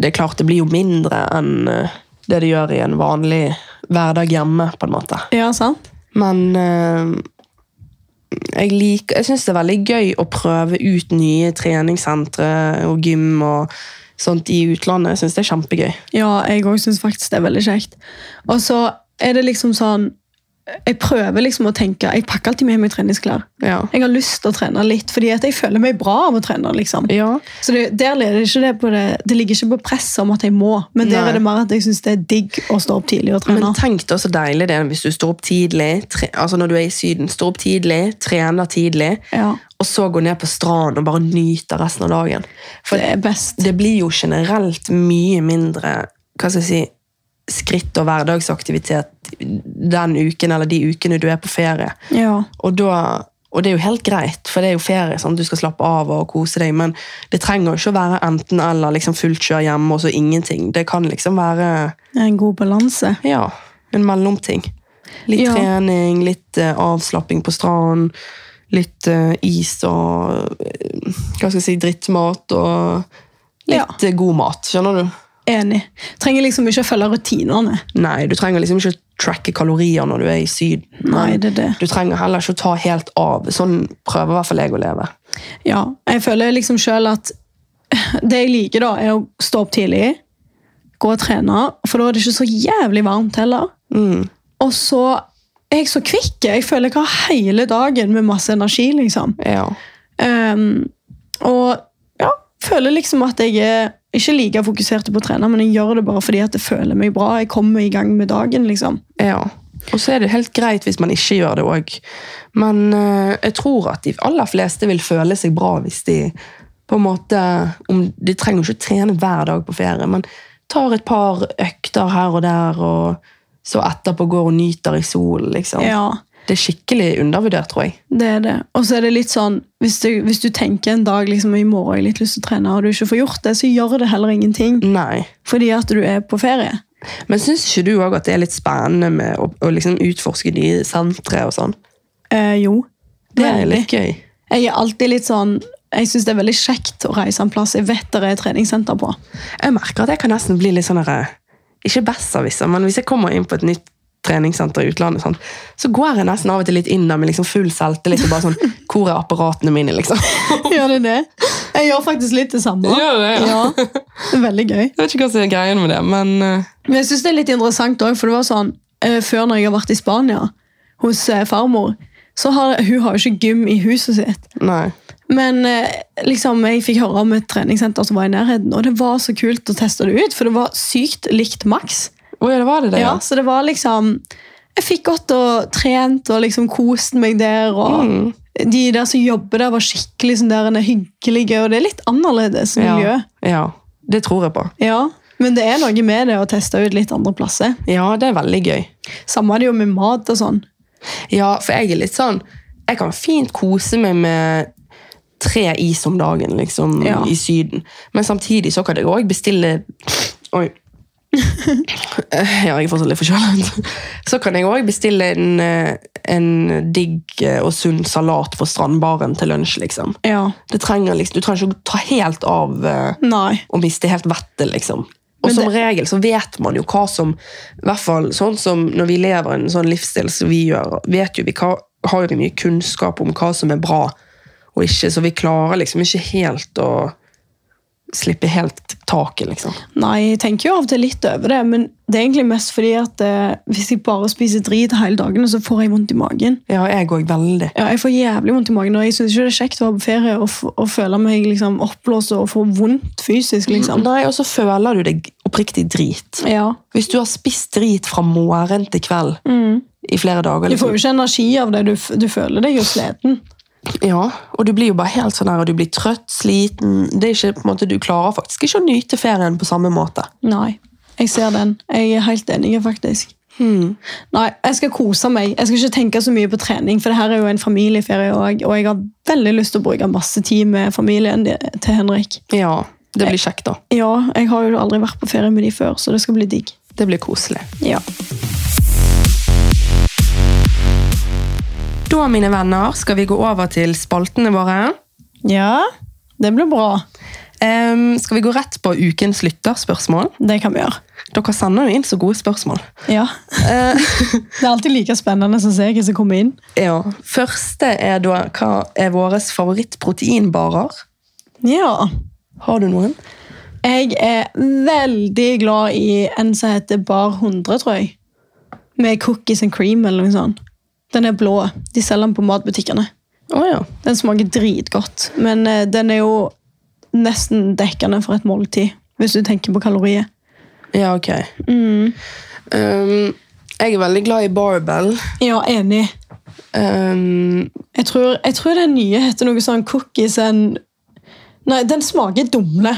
S1: det er klart det blir jo mindre enn eh, det det gjør i en vanlig hverdag hjemme, på en måte.
S2: Ja, sant?
S1: Men eh, jeg, liker, jeg syns det er veldig gøy å prøve ut nye treningssentre og gym og sånt i utlandet. Jeg syns det er kjempegøy.
S2: Ja, jeg òg syns faktisk det er veldig kjekt. Og så er det liksom sånn Jeg prøver liksom å tenke Jeg pakker alltid med meg treningsklær.
S1: Ja.
S2: Jeg har lyst til å trene litt, fordi at jeg føler meg bra av å trene. liksom.
S1: ja.
S2: Så det, der ligger det, ikke det, på det, det ligger ikke på presset om at jeg må, men der
S1: Nei.
S2: er det mer at jeg syns det er digg å stå opp tidlig og trene.
S1: Men tenk deg så deilig det er hvis du står opp tidlig, tre, altså når du er i Syden, står opp tidlig, trener tidlig,
S2: ja,
S1: og så går ned på stranden og bare nyter resten av dagen. For
S2: det er best.
S1: det blir jo generelt mye mindre hva skal jeg si, skritt og hverdagsaktivitet den uken eller de ukene du er på ferie.
S2: Ja.
S1: Og, da, og det er jo helt greit, for det er jo ferie. sant? Du skal slappe av og kose deg, men det trenger jo ikke å være enten eller liksom fullt kjør hjemme og så ingenting. Det kan liksom være
S2: det er En god balanse.
S1: ja, en mellomting. Litt
S2: Ja.
S1: trening, litt eh, avslapping på stranden, litt eh, is og eh, hva skal jeg si, drittmat og
S2: Ja.
S1: litt eh, god mat. Skjønner du?
S2: Enig. Trenger liksom ikke å følge rutinene.
S1: Nei, du trenger liksom ikke å tracke kalorier når du er i Syden.
S2: Nei, det er det.
S1: Du trenger heller ikke å ta helt av. Sånn prøver i hvert fall jeg å leve.
S2: Ja, Jeg føler liksom sjøl at det jeg liker, da, er å stå opp tidlig, gå og trene, for da er det ikke så jævlig varmt heller.
S1: Mm.
S2: Og så er jeg så kvikk. Jeg føler jeg har hele dagen med masse energi, liksom.
S1: Ja.
S2: Ehm, og ja, føler liksom at jeg er ikke like fokusert på å trene, men jeg gjør det bare fordi at det føler meg bra. Jeg kommer i gang med dagen, liksom.
S1: ja. Og så er det helt greit hvis man ikke gjør det òg. Men eh, jeg tror at de aller fleste vil føle seg bra hvis de på en måte om, De trenger jo ikke å trene hver dag på ferie, men tar et par økter her og der, og så etterpå går og nyter i solen, liksom.
S2: Ja.
S1: Det er skikkelig undervurdert, tror jeg.
S2: Det er det. Og så er det litt sånn, hvis du, hvis du tenker en dag liksom, i morgen har jeg litt lyst til å trene, og du ikke får gjort det, så gjør det heller ingenting.
S1: Nei.
S2: Fordi at du er på ferie.
S1: Men syns ikke du òg at det er litt spennende med å, å liksom utforske nye sentre og sånn?
S2: Eh, jo.
S1: Det er
S2: Veldig.
S1: litt gøy.
S2: Jeg er alltid litt sånn jeg syns det er veldig kjekt å reise en plass jeg vet det er et treningssenter
S1: (laughs)
S2: på.
S1: Jeg merker at jeg kan nesten bli litt sånn derre Ikke besserwisser, men hvis jeg kommer inn på et nytt treningssenter i utlandet, sånn, så går jeg nesten av og til litt inn der med liksom full selvtillit og bare sånn (laughs) Hvor er apparatene mine, liksom?
S2: Gjør det det? Jeg gjør faktisk litt det samme.
S1: Gjør det, (laughs) ja.
S2: Ja, det er veldig gøy.
S1: Jeg vet ikke hva som er greien med det, men eh,
S2: Men jeg synes det er litt interessant også, for det var sånn, eh, før når jeg har vært i Spania, hos eh, farmor, så har hun har jo ikke gym i huset sitt.
S1: Nei.
S2: Men eh, liksom, jeg fikk høre om et treningssenter som var i nærheten, og det var så kult å teste det ut, for det var sykt likt maks.
S1: Å ja, det var det, det,
S2: Ja, så det var liksom Jeg fikk godt og trent og liksom kost meg der. Og De der som jobber der, var skikkelig sånn der, en er hyggelige, og det er litt annerledes miljø.
S1: ja. Det tror jeg på.
S2: Ja. Men det er noe med det å teste ut litt andre plasser.
S1: Ja, det er veldig gøy.
S2: Samme er det jo med mat og sånn.
S1: Ja, for jeg er litt sånn Jeg kan fint kose meg med tre is om dagen, liksom,
S2: Ja.
S1: i Syden. Men samtidig så kan jeg òg bestille Oi. Eh, Ja, jeg er fortsatt litt forkjølet. Så kan jeg òg bestille en, eh, en digg eh, og sunn salat på strandbaren til lunsj, liksom.
S2: Ja.
S1: Det trenger, liksom. Du trenger ikke å ta helt av eh,
S2: Nei.
S1: og miste helt vettet, liksom. Og
S2: Men
S1: som
S2: det-
S1: regel så vet man jo hva som i hvert fall sånn som Når vi lever en sånn livsstil som vi gjør, vet jo vi hva, har jo vi mye kunnskap om hva som er bra og ikke, så vi klarer liksom ikke helt å slippe helt taket, liksom.
S2: Nei, jeg tenker jo av og til litt over det, men det er egentlig mest fordi at eh, hvis jeg bare spiser drit hele dagen, så får jeg vondt i magen.
S1: Ja, jeg òg veldig.
S2: Ja, jeg får jævlig vondt i magen, og jeg syns ikke det er kjekt å være på ferie og, f og føle meg liksom oppblåst og få vondt fysisk, liksom.
S1: Nei, og så føler du deg oppriktig drit.
S2: Ja.
S1: Hvis du har spist drit fra morgen til kveld i flere dager,
S2: Mm. Du får
S1: liksom.
S2: jo ikke energi av det, du, f du føler deg jo sliten.
S1: Ja, og du blir jo bare helt sånn her, og du blir trøtt, sliten. Det er ikke, på en måte, Du klarer faktisk ikke å nyte ferien på samme måte.
S2: Nei, jeg ser den. Jeg er helt enig, faktisk. Nei, jeg skal kose meg. Jeg skal ikke tenke så mye på trening, for det her er jo en familieferie, og, og jeg har veldig lyst til å bruke masse tid med familien de- til Henrik.
S1: Ja, det blir kjekt da.
S2: Ja, jeg har jo aldri vært på ferie med de før, så det skal bli digg.
S1: Det blir koselig.
S2: Ja.
S1: Da, mine venner, skal vi gå over til spaltene våre.
S2: ja, det blir bra.
S1: Ehm, skal vi gå rett på ukens lytterspørsmål?
S2: Det kan vi gjøre.
S1: Dere sender jo inn så gode spørsmål.
S2: Ja.
S1: Eh, (laughs)
S2: Det er alltid like spennende som jeg som kommer inn.
S1: ja. Første er da hva er våre favorittproteinbarer?
S2: Ja.
S1: Har du noen?
S2: Jeg er veldig glad i en som heter Bar 100, tror jeg. Med cookies and cream eller noe sånt. Den er blå. De selger den på matbutikkene.
S1: Å ja.
S2: Den smaker dritgodt, men eh, den er jo nesten dekkende for et måltid. Hvis du tenker på kalorier.
S1: Ja, ok. Mm. Ehm, jeg er veldig glad i barbell.
S2: Ja, enig.
S1: Ehm,
S2: Jeg tror, jeg tror den nye heter noe sånn cookies and Nei, den smaker dumle.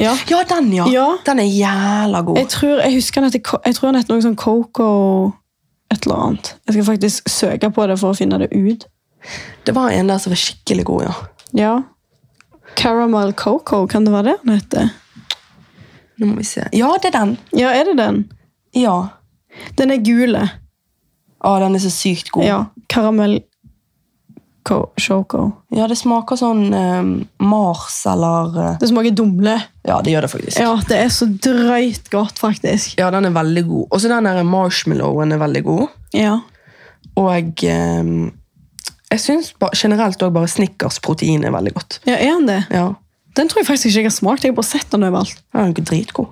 S2: Ja.
S1: ja, den ja.
S2: Ja.
S1: Den er jævla god.
S2: Jeg tror, jeg husker han heter, Ko- jeg tror han heter noe sånn Coco et eller annet. Jeg skal faktisk søke på det for å finne det ut.
S1: Det var en der som var skikkelig god, ja.
S2: Ja. Caramel Coco, kan det være det han heter?
S1: Nå må vi se. Ja, det er den.
S2: Ja, er det den?
S1: Ja.
S2: Den er gule.
S1: Å, den er så sykt god.
S2: Ja, Caramel Co- Choco.
S1: Ja, det smaker sånn eh, Mars eller eh,
S2: Det smaker dumle.
S1: Ja, det gjør det faktisk. Ja,
S2: Ja, det er så drøyt godt, faktisk.
S1: den er veldig god. Også den der marshmallowen er veldig god.
S2: Ja.
S1: Og eh, jeg syns ba- generelt òg bare Snickers protein er veldig godt.
S2: ja, er han det?
S1: Ja,
S2: Den tror jeg faktisk ikke jeg har smakt. Jeg har bare sett den overalt.
S1: den er jo dritgod.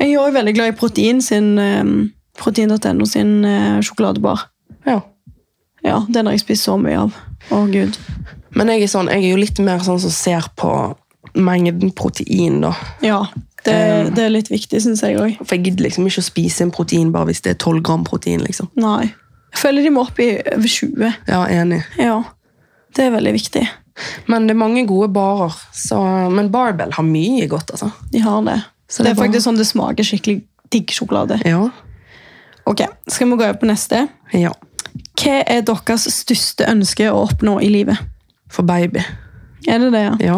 S2: Jeg er også veldig glad i Protein sin, eh, protein.no sin eh, sjokoladebar.
S1: Ja.
S2: Ja, den har jeg spist så mye av. Å, Gud.
S1: Men jeg er, sånn, jeg er jo litt mer sånn som ser på mengden protein, da.
S2: Ja, det,
S1: Eh.
S2: det er litt viktig, syns jeg òg.
S1: For jeg gidder liksom ikke å spise en protein bare hvis det er 12 gram protein. liksom.
S2: Nei. Jeg føler de må opp i over 20.
S1: Ja, enig.
S2: Ja. Det er veldig viktig.
S1: Men det er mange gode barer. Så, men Barbell har mye godt, altså.
S2: De har det.
S1: Så det
S2: det, er
S1: er bra.
S2: faktisk sånn det smaker skikkelig digg sjokolade.
S1: Ja.
S2: Ok, Skal vi gå over på neste?
S1: ja.
S2: Hva er deres største ønske å oppnå i livet?
S1: For baby.
S2: Er det det, ja?
S1: Ja.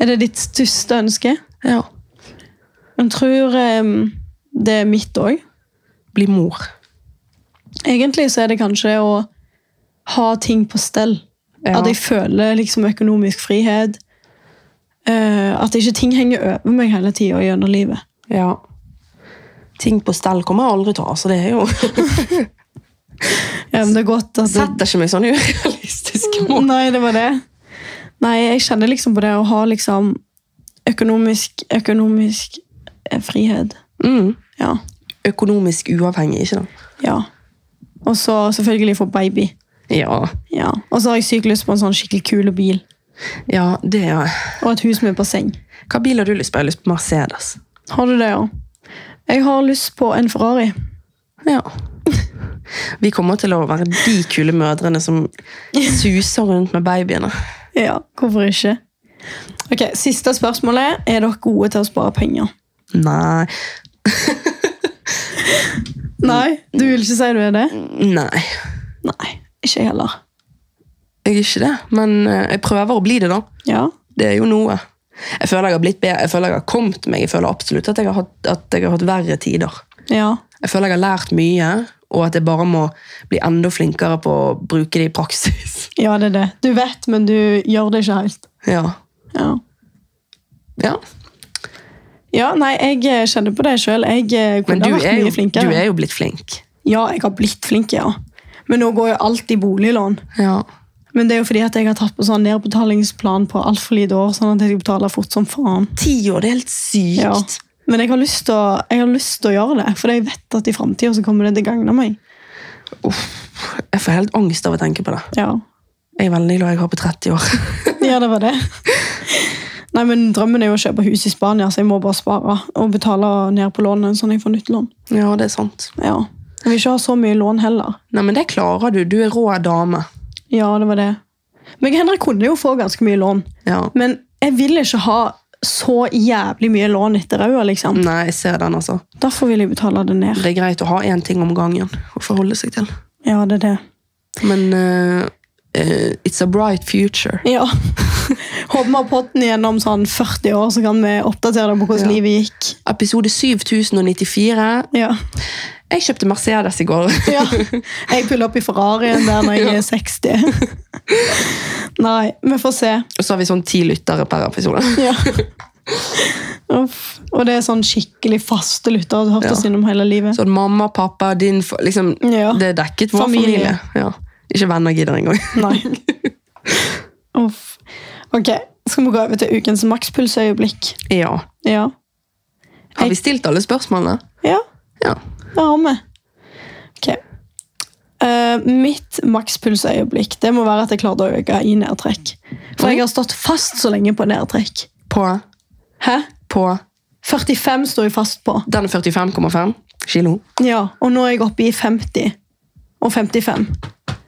S2: Er det ditt største ønske?
S1: ja.
S2: Jeg tror eh, det er mitt òg.
S1: Bli mor.
S2: Egentlig så er det kanskje å ha ting på stell.
S1: Ja.
S2: At jeg føler liksom økonomisk frihet. Eh, at ikke ting henger over meg hele tida gjennom livet.
S1: Ja. Ting på stell kommer jeg aldri til å ha, så det (laughs) er jo
S2: Ja, men det er godt at det,
S1: Setter ikke meg sånn urealistisk mål.
S2: Nei, det var det. Nei, jeg kjenner liksom på det å ha liksom økonomisk, økonomisk eh, frihet.
S1: Mm.
S2: Ja.
S1: Økonomisk uavhengig, ikke sant?
S2: ja. Og så selvfølgelig få baby.
S1: Ja.
S2: Ja. Og så har jeg sykt lyst på en sånn skikkelig kul bil.
S1: ja, det er
S2: Og et hus med basseng.
S1: Hva bil har du lyst på? Jeg har lyst på Mercedes.
S2: Har du det, ja? Jeg har lyst på en Ferrari.
S1: Ja. Vi kommer til å være de kule mødrene som suser rundt med babyene.
S2: Ja, hvorfor ikke? Ok, Siste spørsmålet. Er dere gode til å spare penger?
S1: Nei.
S2: Nei, Mm. du vil ikke si du er det?
S1: Nei.
S2: Nei, ikke jeg heller.
S1: Jeg er ikke det, men eh, jeg prøver å bli det, da.
S2: Ja,
S1: Det er jo noe. Jeg føler jeg har blitt bedre, jeg føler jeg har kommet meg. Jeg føler absolutt at jeg har hatt, at jeg har hatt verre tider.
S2: ja,
S1: Jeg føler jeg har lært mye, og at jeg bare må bli enda flinkere på å bruke det i praksis. (laughs)
S2: ja, det er det. Du vet, men du gjør det ikke helt.
S1: Ja.
S2: Ja,
S1: ja.
S2: ja nei, jeg eh, kjenner på det sjøl. Jeg eh,
S1: Men
S2: kunne
S1: du
S2: ha vært
S1: er,
S2: mye
S1: jo, du
S2: flinkere.
S1: er jo blitt flink.
S2: Ja, jeg har blitt flink, ja. Men nå går jo alt i boliglån.
S1: Ja.
S2: Men det er jo fordi at jeg har tatt på sånn nedbetalingsplan på altfor lite år. sånn at jeg skal betale fort som faen.
S1: Ti år, det er helt sykt.
S2: Ja. Men jeg har lyst til å, jeg har lyst til å gjøre det, for jeg vet at i framtida så kommer det til å gagne meg.
S1: Uff, jeg får helt angst av å tenke på det.
S2: Ja.
S1: Jeg er veldig glad jeg har på 30 år. (laughs)
S2: ja, det var det. (laughs) Nei, men Drømmen er jo å kjøpe hus i Spania, så jeg må bare spare og betale ned på lånet. sånn at jeg får nytt lån.
S1: ja, det er sant.
S2: Ja. Jeg vil ikke ha så mye lån heller.
S1: Nei, men det klarer du. Du er rå dame.
S2: Ja, det var det. Men Henrik kunne jo få ganske mye lån.
S1: Ja.
S2: Men jeg vil ikke ha så jævlig mye lån etter ræva, liksom.
S1: Nei, jeg ser den, altså.
S2: Derfor vil jeg betale det ned.
S1: Det er greit å ha én ting om gangen å forholde seg til.
S2: Ja, det er det.
S1: Men eh, eh, it's a bright future.
S2: Ja. (laughs) Håper vi har potten igjen om sånn 40 år, så kan vi oppdatere deg på hvordan
S1: Ja.
S2: livet gikk.
S1: Episode 7094.
S2: Ja.
S1: Jeg kjøpte Mercedes i går.
S2: (laughs)
S1: (laughs)
S2: ja. Jeg puller opp i Ferrarien der når jeg er 60. Nei, vi får se.
S1: Og så har vi sånn ti lyttere per episode.
S2: Ja. Uff. Og det er sånn skikkelig faste lyttere. Du har hørt
S1: Ja.
S2: oss gjennom hele livet.
S1: Sånn mamma, pappa, din fa- liksom,
S2: Ja.
S1: Det er dekket vår familie.
S2: Familie.
S1: Ja. Ikke venner gidder engang. (laughs)
S2: Nei. Uff. Ok, skal vi gå over til ukens makspulsøyeblikk?
S1: Ja.
S2: Ja.
S1: Har vi stilt alle spørsmålene?
S2: Ja,
S1: Ja.
S2: det har vi. Ok. Eh, mitt makspulsøyeblikk det må være at jeg klarte å øke i nedtrekk. For jeg har stått fast så lenge på nedtrekk.
S1: På,
S2: Hæ?
S1: på
S2: 45 står jeg fast på.
S1: den er 45,5 kilo.
S2: Ja, og nå er jeg oppe i 50. Og 55.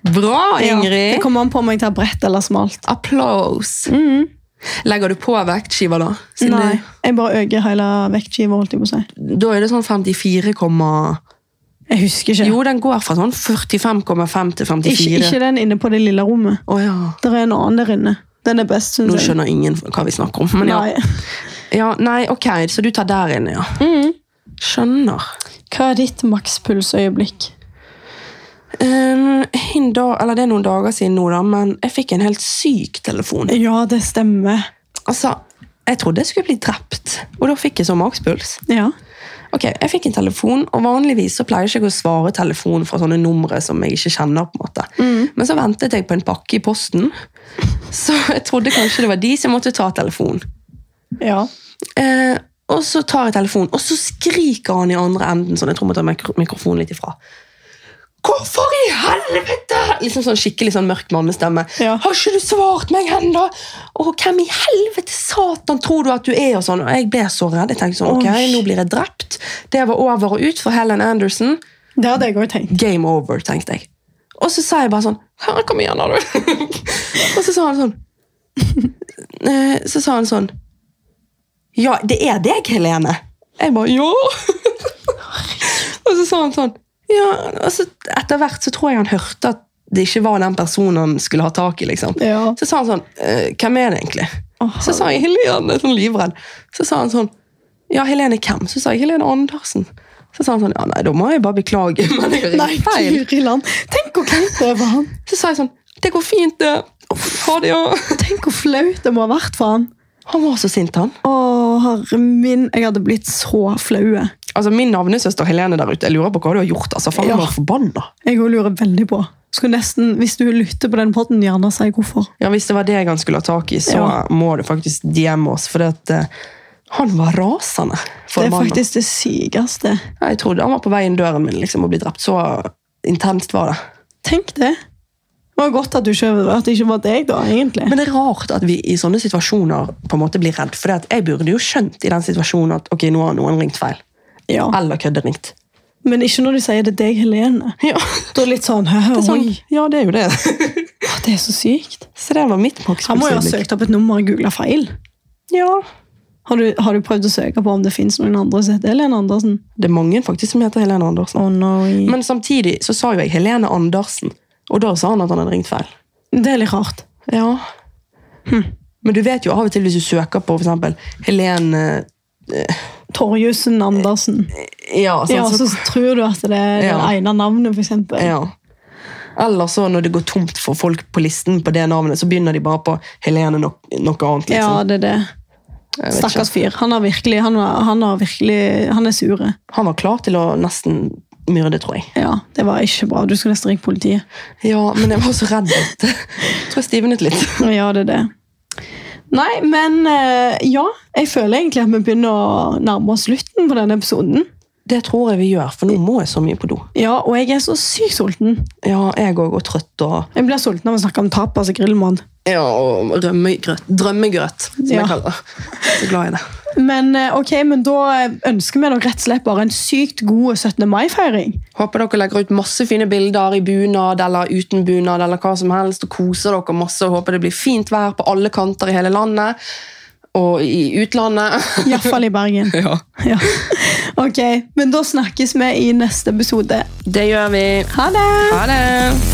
S1: Bra,
S2: Ja,
S1: Ingrid!
S2: det kommer an på om jeg tar bredt eller smalt.
S1: Applaus! Legger du på vektskiva, da? Siden
S2: Mm. Nei,
S1: det-
S2: jeg bare øker hele vektskiva, holdt jeg på å si.
S1: Da er det sånn 54, komma-
S2: Jeg husker ikke.
S1: jo, den går fra sånn 45,5 til 54.
S2: ikke, ikke den inne på det lille rommet.
S1: Å, ja.
S2: Der er en annen der inne. Den er best,
S1: Nå
S2: syns jeg.
S1: skjønner ingen hva vi snakker om. Men ja.
S2: Nei.
S1: Ja, nei, ok, så du tar der inne, ja.
S2: Mm.
S1: Skjønner.
S2: Hva er ditt makspulsøyeblikk?
S1: Um, en dag, eller det er noen dager siden nå, da, men jeg fikk en helt syk telefon.
S2: Ja, det stemmer.
S1: Altså, jeg trodde jeg skulle bli drept, og da fikk jeg sånn så makspuls.
S2: Ja.
S1: Ok, jeg fikk en telefon, og vanligvis så pleier jeg ikke å svare telefonen fra sånne numre som jeg ikke kjenner, på en måte. Men så ventet jeg på en pakke i posten, så jeg trodde kanskje det var de som måtte ta telefonen.
S2: Ja.
S1: Eh, og så tar jeg telefonen, og så skriker han i andre enden, sånn, jeg tror jeg må ta mikro mikrofonen litt ifra. Hvorfor i helvete?! Liksom sånn skikkelig sånn mørk mannestemme.
S2: Ja.
S1: Har ikke du svart meg ennå?! Og hvem i helvete satan tror du at du er?! Og sånn. Og jeg ble så redd. Jeg tenkte sånn, ok,
S2: Oi.
S1: nå blir jeg drept. Det var over og ut for Helen Anderson.
S2: Det hadde jeg òg tenkt.
S1: Game over, tenkte jeg. Og så sa jeg bare sånn «Ja, Kom igjen, da, du! (laughs) og så sa han sånn (laughs) eh, Så sa han sånn Ja, (laughs) det er deg, Helene! Jeg bare Ja! og så sa han sånn Ja, altså, etter hvert så tror jeg han hørte at det ikke var den personen han skulle ha tak i. liksom.
S2: Ja.
S1: Så sa han sånn «Eh, Hvem er det egentlig?
S2: Åh.
S1: Så sa jeg Helene, sånn livredd. Så sa han sånn Ja, Helene hvem? Så sa jeg Helene Andersen. Så sa han sånn Ja, nei, da må jeg bare beklage. (laughs) Men jeg
S2: Nei,
S1: feil.
S2: Guri land. Tenk hvor kleint det var han.
S1: Så sa jeg sånn Det går fint, det. Ha det, ja.
S2: Tenk hvor flaut det må ha vært for han.
S1: Han var så sint, han.
S2: Å, herre min, jeg hadde blitt så flaue.
S1: Altså, Min navnesøster Helene der ute, jeg lurer på hva du har gjort. altså, Faen,
S2: Ja.
S1: jeg var forbanna.
S2: Jeg også lurer veldig på. Skulle nesten, Hvis du lytter på den podden, gjerne si hvorfor.
S1: Ja, Hvis det var deg han skulle ha tak i, så
S2: Ja.
S1: må du faktisk DM oss. For at, eh, han var rasende.
S2: Det er
S1: forbanna.
S2: faktisk det sykeste.
S1: Ja, Jeg trodde han var på vei inn døren min liksom, og ble drept. Så intenst var det.
S2: Tenk det. Det var godt at, du ikke, at det ikke var deg, da, egentlig.
S1: Men det er rart at vi i sånne situasjoner på en måte blir redd. For det at jeg burde jo skjønt i den situasjonen at ok, nå har noen ringt feil.
S2: ja.
S1: Eller kødderingt.
S2: Men ikke når de sier det er deg, Helene.
S1: Ja.
S2: Da er det litt sånn, (laughs) «Hæ,
S1: Det er sånn,
S2: oi,
S1: ja, det er jo det.
S2: (laughs) å, det er så sykt.
S1: Så det var mitt
S2: Han må jo ha
S1: makspulsøyeblikk.
S2: søkt opp et nummer og googla feil.
S1: Ja.
S2: Har du, har du prøvd å søke på om det fins noen andre som heter Helene Andersen?
S1: Det er mange faktisk som heter Helene Andersen.
S2: Å nei.
S1: Men samtidig så sa jo jeg Helene Andersen, og da sa han at han hadde ringt feil.
S2: Men det er litt rart.
S1: Ja. Men du vet jo av og til hvis du søker på for eksempel Helene
S2: Torjussen Andersen.
S1: Ja, sant,
S2: Ja, så
S1: så,
S2: tror du at det er det
S1: Ja.
S2: ene navnet, for eksempel.
S1: ja. Eller så når det går tomt for folk på listen på det navnet, så begynner de bare på Helene no noe annet.
S2: Ja,
S1: liksom.
S2: det er det.
S1: Jeg vet ikke.
S2: Stakkars fyr. Han er virkelig Han, var, han, er virkelig, han er sure.
S1: Han var klar til å nesten myrde, tror jeg.
S2: Ja, det var ikke bra. Du skulle nesten ringt politiet.
S1: (laughs) Ja, men jeg var så redd at Jeg (laughs) tror jeg stivnet litt.
S2: Ja, det er det. Nei, men eh, ja. Jeg føler egentlig at vi begynner å nærme oss slutten på denne episoden.
S1: Det tror jeg vi gjør, for nå må jeg så mye på do.
S2: Ja, Og jeg er så sykt sulten.
S1: Ja, jeg òg, og trøtt og
S2: Jeg blir sulten av å snakke om altså, tapas og grillmat.
S1: Ja, og rømmegrøt. Drømmegrøt, som
S2: Ja.
S1: jeg kaller det. Så glad i det.
S2: Men eh, ok, men da ønsker vi dere rett og slett bare en sykt god 17. mai-feiring.
S1: Håper dere legger ut masse fine bilder i bunad eller uten bunad eller hva som helst, og koser dere masse og håper det blir fint vær på alle kanter i hele landet og i utlandet.
S2: Iallfall i Bergen.
S1: Ja.
S2: Ja. Ok, men da snakkes vi i neste episode.
S1: Det gjør vi.
S2: Ha det!
S1: Ha det!